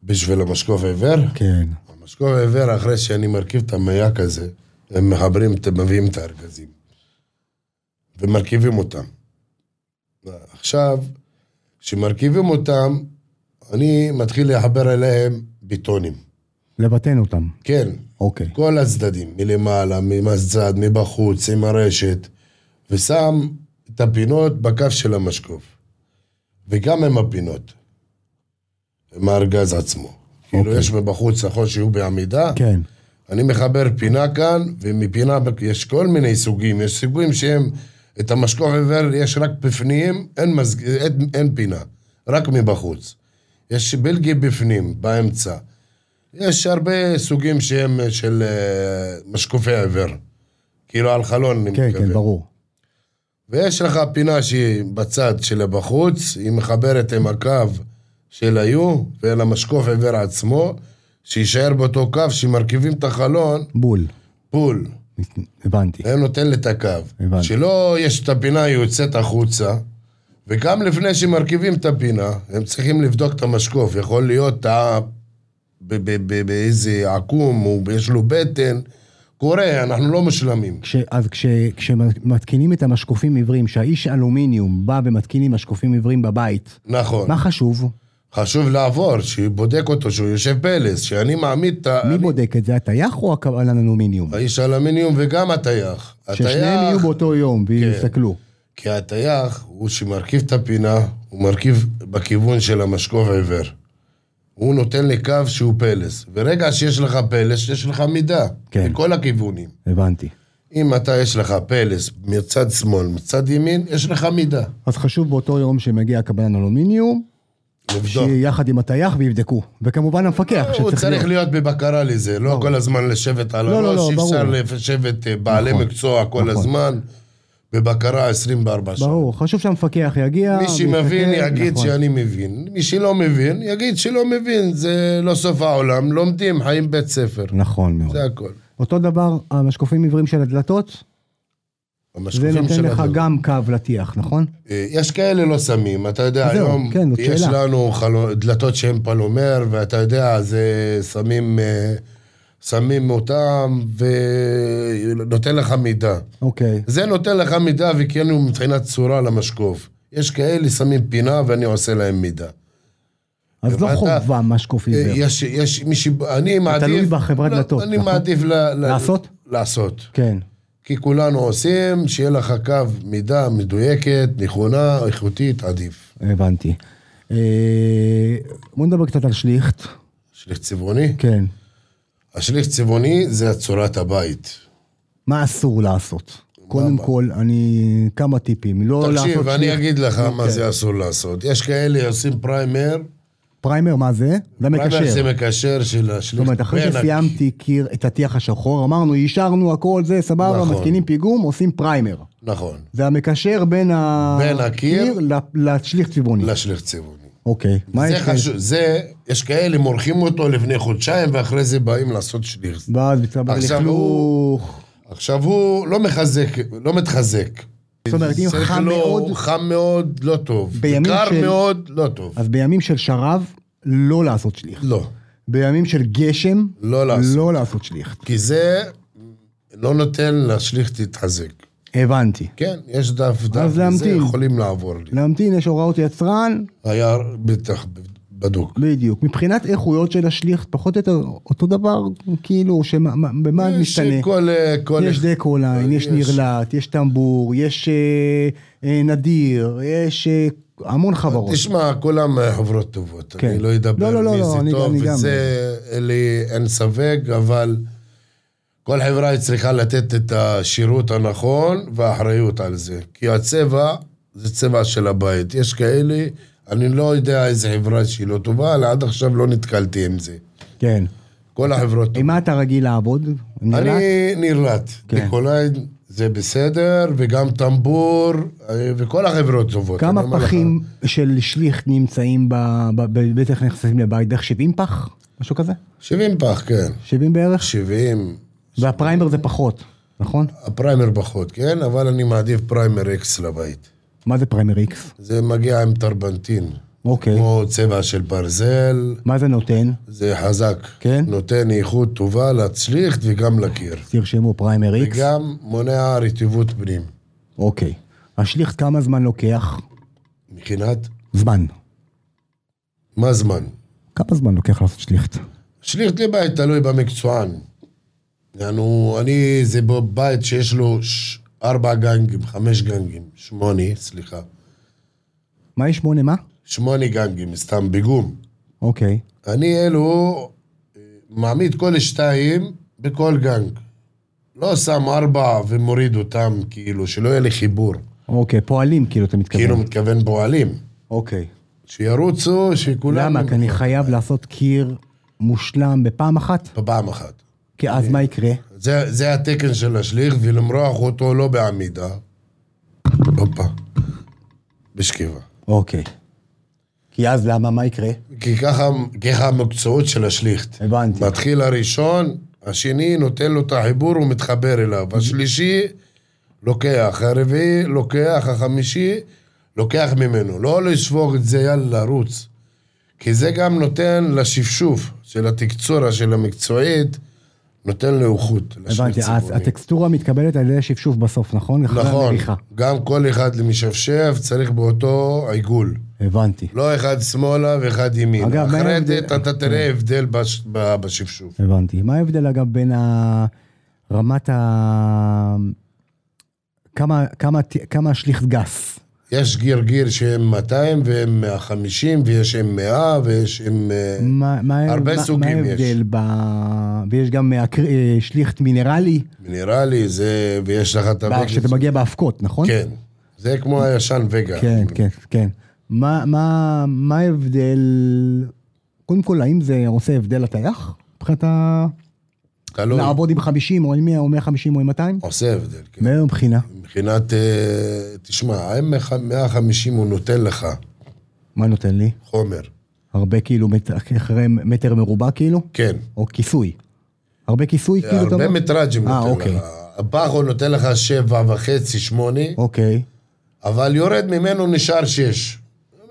B: בשביל המשקוף עיוור?
A: כן.
B: המשקוף העיוור, אחרי שאני מרכיב את המייק הזה, הם מחברים, את- מביאים את הארגזים. ומרכיבים אותם. עכשיו, כשמרכיבים אותם, אני מתחיל לחבר אליהם בטונים.
A: לבטן אותם.
B: כן,
A: אוקיי.
B: כל הצדדים, מלמעלה, ממצד, מבחוץ, עם הרשת, ושם את הפינות בקו של המשקוף. וגם עם הפינות. עם הארגז עצמו. כאילו
A: אוקיי.
B: יש מבחוץ, נכון שהוא בעמידה,
A: כן.
B: אני מחבר פינה כאן, ומפינה יש כל מיני סוגים. יש סוגים שהם, את המשקוף עיוור יש רק בפנים, אין, מזג... אין, אין פינה, רק מבחוץ. יש בלגי בפנים, באמצע. יש הרבה סוגים שהם של אה, משקופי עיוור. כאילו על חלון, אני
A: כן,
B: מתכוון.
A: כן, ברור.
B: ויש לך פינה שהיא בצד של הבחוץ, היא מחברת עם הקו של היו ואל המשקוף עיוור עצמו, שיישאר באותו קו, שמרכיבים את החלון,
A: בול.
B: פול.
A: הבנתי.
B: היה נותן לי את הקו.
A: הבנתי.
B: שלא יש את הפינה, היא יוצאת החוצה, וגם לפני שמרכיבים את הפינה, הם צריכים לבדוק את המשקוף. יכול להיות ה... ב- ב- ב- באיזה עקום, או יש לו בטן. קורה, אנחנו לא מושלמים.
A: כש, אז כש, כשמתקינים את המשקופים עיוורים, שהאיש אלומיניום בא ומתקין לי משקופים עיוורים בבית,
B: נכון.
A: מה חשוב?
B: חשוב לעבור, שבודק אותו, שהוא יושב פלס, שאני מעמיד את ה...
A: מי
B: אני-
A: בודק את זה, הטייח או הקבלן אלומיניום?
B: האיש אלומיניום וגם הטייח. כן.
A: ששניהם
B: הטייח-
A: יהיו באותו יום ויסתכלו.
B: כי הטייח הוא שמרכיב את הפינה, הוא מרכיב בכיוון של המשקוף עיוור. הוא נותן לי קו שהוא פלס. ברגע שיש לך פלס, יש לך מידה.
A: כן.
B: כן. מכל הכיוונים.
A: הבנתי.
B: אם אתה, יש לך פלס מצד שמאל, מצד ימין, יש לך מידה.
A: אז חשוב באותו יום שמגיע הקבלן אלומיניום,
B: לבדוק.
A: שיהיה יחד עם הטייח ויבדקו. וכמובן המפקח
B: אה, הוא
A: שצריך להיות.
B: צריך להיות בבקרה לזה, לא כל הזמן לשבת על
A: לא, לא,
B: הראש,
A: לא,
B: אי אפשר
A: ברור.
B: לשבת אה, בעלי
A: נכון,
B: מקצוע כל
A: נכון.
B: הזמן, בבקרה 24 שעות.
A: ברור, חשוב שהמפקח יגיע.
B: מי שמבין
A: ויסתכל,
B: יגיד
A: לא, נכון.
B: שאני מבין, מי שלא מבין יגיד שלא מבין, זה לא סוף העולם, לומדים, חיים בית ספר,
A: נכון מאוד.
B: זה הכל.
A: אותו דבר, המשקופים עיוורים של הדלתות, זה
B: המשקופים
A: נותן
B: של
A: לך
B: הדבר.
A: גם קו לטיח, נכון?
B: אה, יש כאלה לא שמים, אתה יודע,
A: זהו,
B: היום
A: כן, זאת
B: יש
A: שאלה.
B: לנו חלו- דלתות שהן פלומר, ואתה יודע, זה שמים, אה, שמים אותם ונותן לך מידע.
A: אוקיי.
B: זה נותן לך מידע וכאילו מבחינת צורה למשקוף. יש כאלה שמים פינה ואני עושה להם מידע.
A: אז לא
B: ואתה-
A: חובה משקוף
B: אה,
A: עיוור.
B: יש, יש מי ש... אני מעדיף...
A: תלוי בחברת
B: לא,
A: דלתות,
B: אני
A: נכון?
B: מעדיף ל... ל-
A: לעשות?
B: לעשות.
A: כן,
B: כי כולנו עושים, שיהיה לך קו מידה מדויקת, נכונה, איכותית, עדיף.
A: הבנתי. אה, בוא נדבר קצת על שליכט.
B: שליח צבעוני?
A: כן.
B: השליח צבעוני זה צורת הבית.
A: מה אסור לעשות? קודם כל, אני... כמה טיפים. לא לעשות אוקיי. שליכט.
B: תקשיב, אני אגיד לך מה זה אסור לעשות. יש כאלה עושים פריימר,
A: פריימר, מה זה? זה
B: פריימר
A: מקשר.
B: זה מקשר של השליח...
A: זאת אומרת, אחרי
B: בין ה-
A: שסיימתי קיר את הטיח השחור, אמרנו, אישרנו הכל זה, סבבה,
B: נכון.
A: מתקינים פיגום, עושים פריימר.
B: נכון.
A: זה המקשר בין, ה...
B: בין הקיר
A: ל- לשליח צבעוני.
B: לשליח צבעוני.
A: אוקיי. מה
B: זה
A: יש לך?
B: חשוב, זה, יש כאלה מורחים אותו לפני חודשיים ואחרי זה באים לעשות שליח.
A: ואז מצטבר
B: עכשיו
A: לכלוך.
B: עכשיו הוא לא מחזק, לא מתחזק.
A: זאת אומרת, אם
B: צריך
A: חם
B: לו-
A: מאוד,
B: חם מאוד, לא טוב.
A: בימים
B: קר
A: של-
B: מאוד, לא טוב.
A: אז בימים של שרב, לא לעשות שליח.
B: לא.
A: בימים של גשם,
B: לא לעשות.
A: לא לעשות שליח.
B: כי זה לא נותן לשליח להתחזק.
A: הבנתי.
B: כן, יש דף דף,
A: אז
B: זה
A: להמתין.
B: יכולים לעבור לי.
A: להמתין, יש הוראות יצרן,
B: היה בטח בדוק.
A: בדיוק. מבחינת איכויות של השליח, פחות או יותר אותו דבר, כאילו, שמה- מה- במה משתנה?
B: כל, אה, כל...
A: יש דקוליין, יש נרלט, יש טמבור, יש אה, אה, נדיר, יש אה, המון חברות.
B: תשמע, כולם אה, חברות טובות.
A: כן.
B: אני לא אדבר
A: לא, לא, לא,
B: מי
A: לא,
B: זה
A: אני-
B: טוב,
A: אני גם-
B: וזה, לי אין ספק, אבל כל חברה היא צריכה לתת את השירות הנכון והאחריות על זה. כי הצבע זה צבע של הבית. יש כאלה, אני לא יודע איזה חברה שהיא לא טובה, אבל עד עכשיו לא נתקלתי עם זה.
A: כן.
B: כל החברות טובות.
A: עם מה אתה רגיל לעבוד? עם נרלט?
B: אני נרלט.
A: כן.
B: ניקולאין זה בסדר, וגם טמבור, אה, וכל החברות טובות.
A: כמה
B: אני אומר לך.
A: פחים של שליח נמצאים ב- ב- ב- בטח נכנסים לבית? בערך 70 פח? משהו כזה?
B: 70 פח, כן.
A: 70 בערך?
B: 70.
A: והפריימר זה פחות, נכון?
B: הפריימר פחות, כן? אבל אני מעדיף פריימר אקס לבית.
A: מה זה פריימר איקס?
B: זה מגיע עם טרבנטין.
A: אוקיי.
B: כמו צבע של ברזל,
A: מה זה נותן?
B: זה חזק.
A: כן.
B: נותן איכות טובה לצליחת וגם לקיר.
A: תרשמו פריימר איקס.
B: וגם מונע רטיבות פנים.
A: אוקיי. השליח כמה זמן לוקח?
B: מבחינת
A: זמן.
B: מה זמן?
A: כמה זמן לוקח לעשות שליחת?
B: שליחת לבית תלוי במקצוען. יענו, אני, זה בו- בית שיש לו ש- ארבע גנגים, חמש גנגים, שמונה, סליחה.
A: מה יש שמונה מה?
B: שמונה גנגים, סתם פיגום.
A: אוקיי.
B: אני אלו אה, מעמיד כל שתיים בכל גנג. לא שם ארבע ומוריד אותם, כאילו, שלא יהיה לי חיבור.
A: אוקיי, פועלים כאילו אתה
B: כאילו,
A: מתכוון.
B: מתכוון פועלים.
A: אוקיי.
B: שירוצו, שכולם...
A: למה? כי אני חייב לעשות קיר מושלם בפעם אחת?
B: בפעם אחת.
A: כי אז מה יקרה?
B: זה, זה התקן של השליח, ולמרוח אותו לא בעמידה. הופה. בשכיבה.
A: אוקיי. כי אז למה? מה יקרה?
B: כי ככה, ככה המקצועות של השליחת.
A: הבנתי.
B: מתחיל הראשון, השני נותן לו את החיבור, הוא מתחבר אליו. השלישי לוקח, הרביעי לוקח, החמישי לוקח ממנו. לא לשפוך את זה, יאללה, רוץ. כי זה גם נותן לשפשוף של התקצורה של המקצועית, נותן לאיכות.
A: הבנתי,
B: לשליח
A: אז
B: ציבורי.
A: הטקסטורה מתקבלת על ידי שפשוף בסוף, נכון? אחרי
B: נכון,
A: הנריחה.
B: גם כל אחד למשפשף צריך באותו עיגול.
A: הבנתי,
B: לא אחד שמאלה ואחד ימינה.
A: אגב, מה
B: אחרת
A: ההבדל- אה, כן.
B: אתה אתה תראה הבדל בש- ב- בשפשוף.
A: הבנתי. מה ההבדל אגב בין ה- רמת ה... כמה, כמה, כמה השליך גס?
B: יש גיר גיר שהם 200 והם 150 ויש הם 100 ויש הם... אה,
A: מה, מה,
B: הרבה
A: מה,
B: סוגים
A: מה
B: יש.
A: ההבדל ב... ויש גם הקר- אה, שליך מינרלי,
B: מינרלי, זה... ויש לך
A: ב-
B: את הווגה.
A: כשאתה מגיע באבקות, נכון?
B: כן. זה כמו הישן וגה.
A: כן, כן, כן. מה, מה, מה ההבדל... קודם כל, האם זה עושה הבדל לטייח? מבחינת ה...
B: תלוי.
A: לעבוד עם 50 או עם 100 או 150 או עם 200?
B: לא עושה הבדל, כן.
A: מאיזה מבחינה?
B: מבחינת... אה, תשמע, ה-150 הוא נותן לך
A: מה נותן לי?
B: חומר.
A: הרבה כאילו, מת- אחרי מטר מרובע כאילו?
B: כן.
A: או כיסוי. הרבה כיסוי כאילו? אתה
B: הרבה
A: אומר?
B: מטראג'ים
A: אה,
B: נותן
A: אוקיי.
B: לך. הפח הוא נותן לך שבע וחצי, שמונה,
A: אוקיי.
B: אבל יורד ממנו נשאר שש.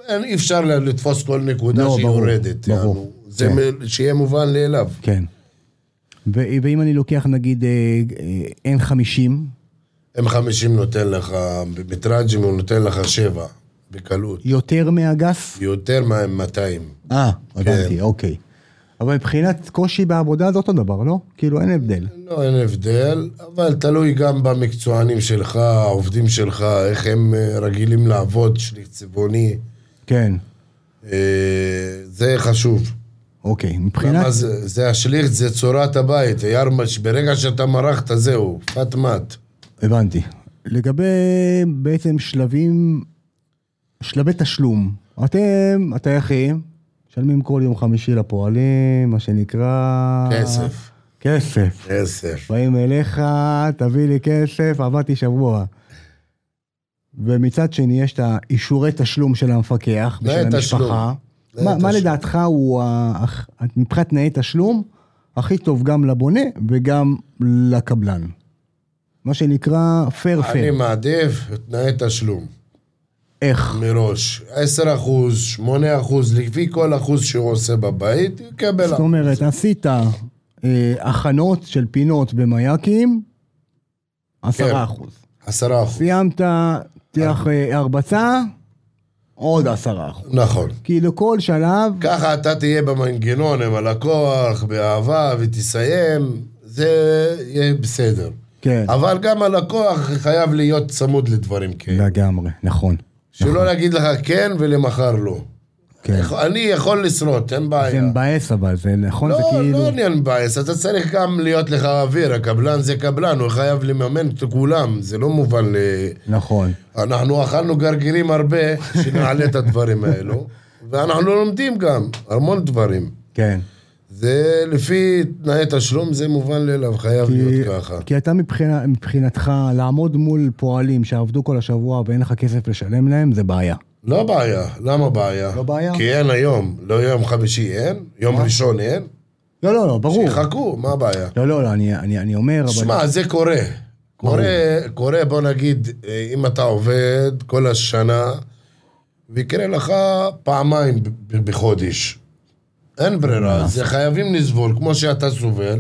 B: אין- אי אפשר לתפוס כל נקודה
A: לא,
B: שהיא
A: ברור,
B: יורדת.
A: ברור.
B: יענו. זה
A: כן.
B: מ- שיהיה מובן לאליו.
A: כן. ו- ואם אני לוקח נגיד אה, אה, N50,
B: M50 נותן לך, במטראג'ים הוא נותן לך שבע, בקלות.
A: יותר מהגס?
B: יותר מה-200.
A: אה, הבנתי, אוקיי. אבל מבחינת קושי בעבודה זה אותו דבר, לא? כאילו אין הבדל.
B: לא, אין הבדל, אבל תלוי גם במקצוענים שלך, העובדים שלך, איך הם אה, רגילים לעבוד, שליח צבעוני.
A: כן,
B: אה, זה חשוב.
A: אוקיי. מבחינת...
B: למה זה, זה השליח, זה צורת הבית. ירמש, ברגע שאתה מרחת, זהו, פת מת.
A: הבנתי. לגבי בעצם שלבים, שלבי תשלום. אתם, הטייחים, משלמים כל יום חמישי לפועלים, מה שנקרא...
B: כסף.
A: כסף.
B: עשר.
A: באים אליך, תביא לי כסף, עבדתי שבוע. ומצד שני יש את האישורי תשלום של המפקח
B: תנאי
A: בשביל
B: תשלום.
A: המשפחה.
B: תנאי
A: מה- מה
B: תשלום.
A: לדעתך הוא, ה- הכ- מבחינת תנאי תשלום, הכי טוב גם לבונה וגם לקבלן? מה שנקרא fair
B: אני
A: fair.
B: מעדיף תנאי תשלום
A: איך?
B: מראש. 10 אחוז, 8 אחוז, לפי כל אחוז שהוא עושה בבית, יקבל...
A: זאת אומרת, עשית אה, הכנות של פינות במייקים,
B: כן.
A: עשרה אחוז.
B: 10 אחוז.
A: סיימת, תיח אה, הרבצה, עוד עשרה אחוז.
B: נכון.
A: כי לכל שלב,
B: ככה אתה תהיה במנגנון עם הלקוח, באהבה, ותסיים, זה יהיה בסדר.
A: כן.
B: אבל גם הלקוח חייב להיות צמוד לדברים כאלה.
A: לגמרי, נכון.
B: שלא להגיד לך כן ולמחר לא.
A: כן.
B: אני יכול לשרוד, אין בעיה.
A: זה מבאס אבל, זה נכון, זה
B: אה, לא,
A: כאילו...
B: לא עניין מבאס, אתה צריך גם להיות לך אוויר, הקבלן זה קבלן, הוא חייב לממן את כולם, זה לא מובן ל...
A: נכון.
B: אנחנו אכלנו גרגירים הרבה, שנעלה את הדברים האלו, ואנחנו לומדים גם המון דברים.
A: כן.
B: זה לפי תנאי תשלום, זה מובן לאליו, חייב להיות ככה.
A: כי אתה מבחינה, מבחינתך, לעמוד מול פועלים שעבדו כל השבוע ואין לך כסף לשלם להם, זה בעיה.
B: לא בעיה, למה בעיה?
A: לא בעיה?
B: כי אין היום, לא יום חמישי אין, יום ראשון אין,
A: לא, לא, לא, ברור.
B: שיחכו, מה הבעיה?
A: לא, לא, לא, אני, אני, אני אומר, אבל...
B: שמע, זה קורה. קורה, קורה, בוא נגיד, אה, אם אתה עובד כל השנה, ויקרה לך פעמיים ב- ב- בחודש. אין
A: נכון.
B: ברירה, זה חייבים לסבול, כמו שאתה סובל,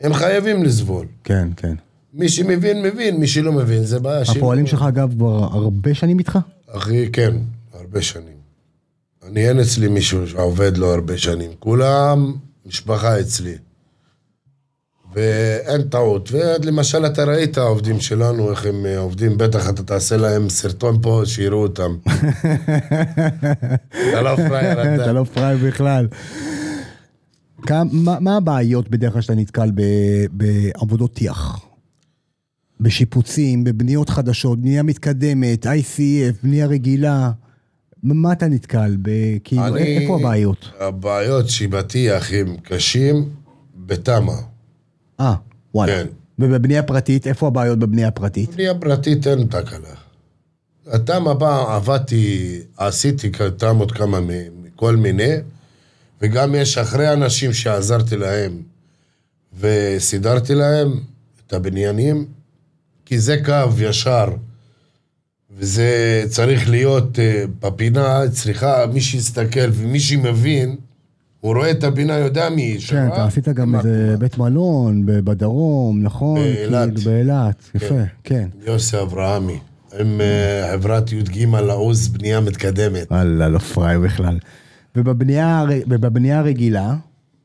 B: הם חייבים לסבול.
A: כן, כן.
B: מי שמבין, מבין, מי שלא מבין, זה בעיה שלו.
A: הפועלים שלך, אגב, כבר הרבה שנים איתך?
B: אחי, כן, הרבה שנים. אני, אין אצלי מישהו שעובד לו הרבה שנים. כולם משפחה אצלי. ואין טעות. ולמשל, אתה ראית העובדים שלנו, איך הם אה, עובדים, בטח אתה תעשה להם סרטון פה, שיראו אותם. אתה לא פראייר, אתה.
A: אתה לא פראייר בכלל. כמה- מה- מה הבעיות בדרך כלל שאתה נתקל ב- בעבודות טיח? בשיפוצים, בבניות חדשות, בנייה מתקדמת, ICF, בנייה רגילה. מה אתה נתקל? ב- כאילו,
B: אני-
A: איפה הבעיות?
B: הבעיות שבטיח הם קשים בתמה.
A: אה, וואלה.
B: כן.
A: ובבנייה פרטית, איפה הבעיות בבנייה פרטית?
B: בנייה פרטית אין תקלה. התמ"א פעם עבדתי, עשיתי תמ"ות כמה מ- מכל מיני, וגם יש אחרי אנשים שעזרתי להם וסידרתי להם את הבניינים, כי זה קו ישר, וזה צריך להיות אה, בפינה, צריכה מי שיסתכל ומי שמבין, הוא רואה את הפינה, יודע מי היא
A: כן, אתה עשית גם
B: מה
A: איזה בית מלון ב- בדרום, נכון?
B: באילת.
A: כאילו, באילת, יפה, כן.
B: יוסי אברהמי, עם אה, חברת י"ג לעוז בנייה מתקדמת.
A: וואלה, לא פראייר בכלל. ובבנייה, הר- ובבנייה הרגילה,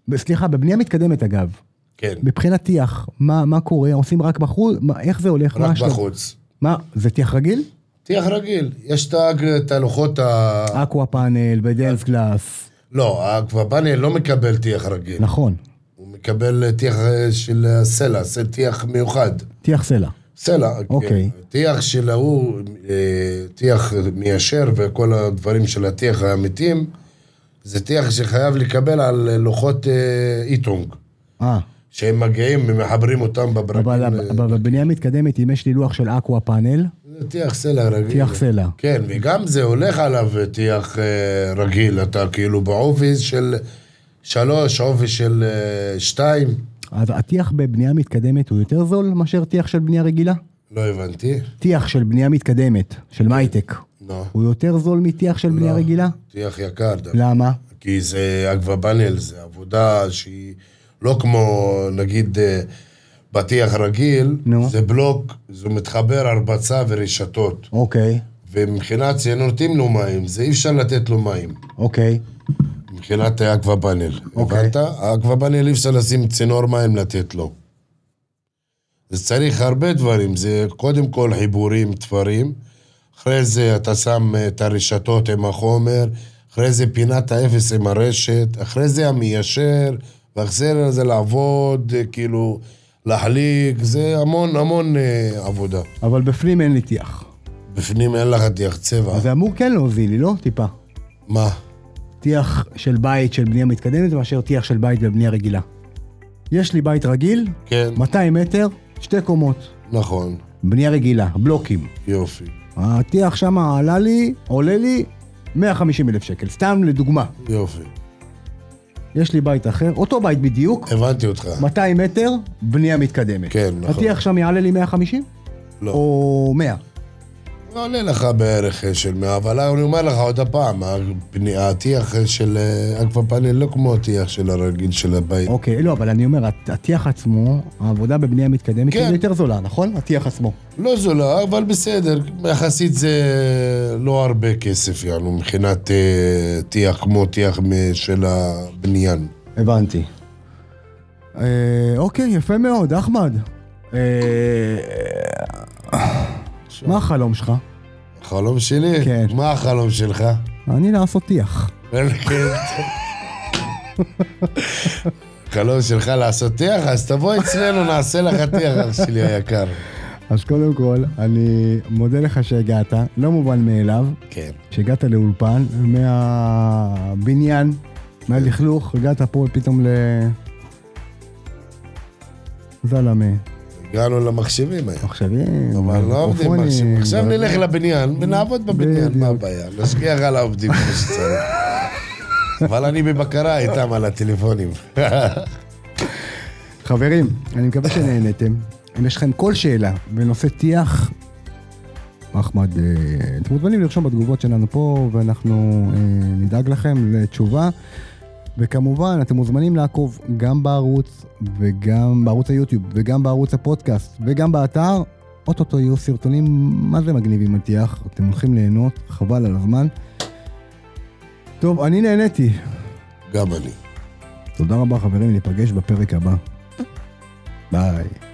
A: ב- סליחה, בבנייה מתקדמת אגב,
B: כן,
A: מבחינת טיח, מה, מה קורה? עושים רק בחוץ? מה, איך זה הולך? מה
B: רק
A: השלב?
B: בחוץ.
A: מה, זה טיח רגיל?
B: טיח רגיל, יש את ה- את הלוחות ה...
A: אקווה פאנל ודנס גלאס.
B: לא, הקוואבני לא מקבל טיח רגיל,
A: נכון,
B: הוא מקבל טיח אה, של סלע, זה טיח מיוחד.
A: טיח סלע.
B: סלע,
A: אוקיי.
B: כן. טיח של ההוא, אה, טיח מיישר וכל הדברים של הטיח האמיתיים, זה טיח שחייב לקבל על לוחות אה, איטונג,
A: אה,
B: שהם מגיעים ומחברים אותם בברקים.
A: אבל
B: אה,
A: הב- בבנייה המתקדמת, אם יש לי לוח של אקווה פאנל,
B: זה טיח סלע רגיל.
A: טיח סלע.
B: כן, וגם זה הולך עליו טיח אה, רגיל, אתה כאילו בעובש של שלוש, עובש של אה, שתיים.
A: אז הטיח בבנייה מתקדמת הוא יותר זול מאשר טיח של בנייה רגילה?
B: לא הבנתי.
A: טיח של בנייה מתקדמת, של מייטק,
B: לא.
A: הוא יותר זול מטיח של בנייה רגילה?
B: טיח יקר דווקא.
A: למה?
B: כי זה אגווה בנל, זה עבודה שהיא לא כמו, נגיד, אה, בטיח רגיל,
A: נו.
B: זה בלוק, זה מתחבר הרבצה ורשתות.
A: אוקיי,
B: ומבחינת זה נותנים לו מים, זה אי אפשר לתת לו מים.
A: אוקיי.
B: מבחינת האקווה פאנל.
A: אוקיי.
B: הבנת? האקווה פאנל אי אפשר לשים צינור מים לתת לו. זה צריך הרבה דברים, זה קודם כל חיבורים, תפרים, אחרי זה אתה שם אה, את הרשתות עם החומר, אחרי זה פינת האפס עם הרשת, אחרי זה המיישר, ואחרי זה לעבוד, אה, כאילו, להחליק, זה המון המון אה, עבודה.
A: אבל בפנים אין לי טיח.
B: בפנים אין לך טיח צבע.
A: אז זה אמור כן להוזיל לי, לא? טיפה.
B: מה?
A: טיח של בית של בנייה מתקדמת מאשר טיח של בית בבנייה רגילה. יש לי בית רגיל,
B: כן,
A: 200 מטר, שתי קומות.
B: נכון,
A: בנייה רגילה, בלוקים.
B: יופי.
A: הטיח שם עלה לי, עולה לי 150 אלף שקל, סתם לדוגמה.
B: יופי.
A: יש לי בית אחר, אותו בית בדיוק,
B: הבנתי אותך.
A: 200 מטר, בנייה מתקדמת.
B: כן, נכון.
A: הטיח שם יעלה לי 150?
B: לא.
A: או 100?
B: זה לא עולה לך בערך אה, של 100, אבל אני אומר לך עוד הפעם, הפני- הטיח אה, של אה, אקוואפאנל לא כמו הטיח של הרגיל של הבית.
A: אוקיי, לא, אבל אני אומר, הט- הטיח עצמו, העבודה בבנייה מתקדמת
B: כן.
A: היא יותר זולה, נכון? הטיח עצמו.
B: לא זולה, אבל בסדר, יחסית זה לא הרבה כסף, יענו, מבחינת אה, טיח כמו טיח מ- של הבניין.
A: הבנתי. אה, אוקיי, יפה מאוד, אחמד. אה, מה החלום שלך?
B: חלום שלי?
A: כן.
B: מה החלום שלך? כן.
A: אני לעשות טיח.
B: חלום שלך לעשות טיח? אז תבוא אצלנו, נעשה לך טיח, אח שלי היקר.
A: אז קודם כל, אני מודה לך שהגעת, לא מובן מאליו,
B: כן.
A: שהגעת לאולפן מהבניין, מהלכלוך, הגעת פה פתאום ל... זלמה.
B: הגענו למחשבים אה. היום.
A: מחשבים,
B: אבל לא עובדים
A: מיקרופונים,
B: מחשבים. עכשיו
A: אבל-
B: נלך לבניין ונעבוד בבניין, מה הבעיה? נשגיח על העובדים כמו שצריך. אבל אני בבקרה איתם על הטלפונים.
A: חברים, אני מקווה שנהנתם. אם יש לכם כל שאלה בנושא טיח, אחמד, אה, אתם מוזמנים לרשום בתגובות שלנו פה, ואנחנו אה, נדאג לכם לתשובה. וכמובן, אתם מוזמנים לעקוב גם בערוץ, וגם בערוץ היוטיוב, וגם בערוץ הפודקאסט, וגם באתר. אוטוטו יהיו סרטונים מה זה מגניבים על טיח, אתם הולכים ליהנות, חבל על הזמן. טוב, אני נהניתי.
B: גם אני.
A: תודה רבה חברים, ניפגש בפרק הבא. ביי.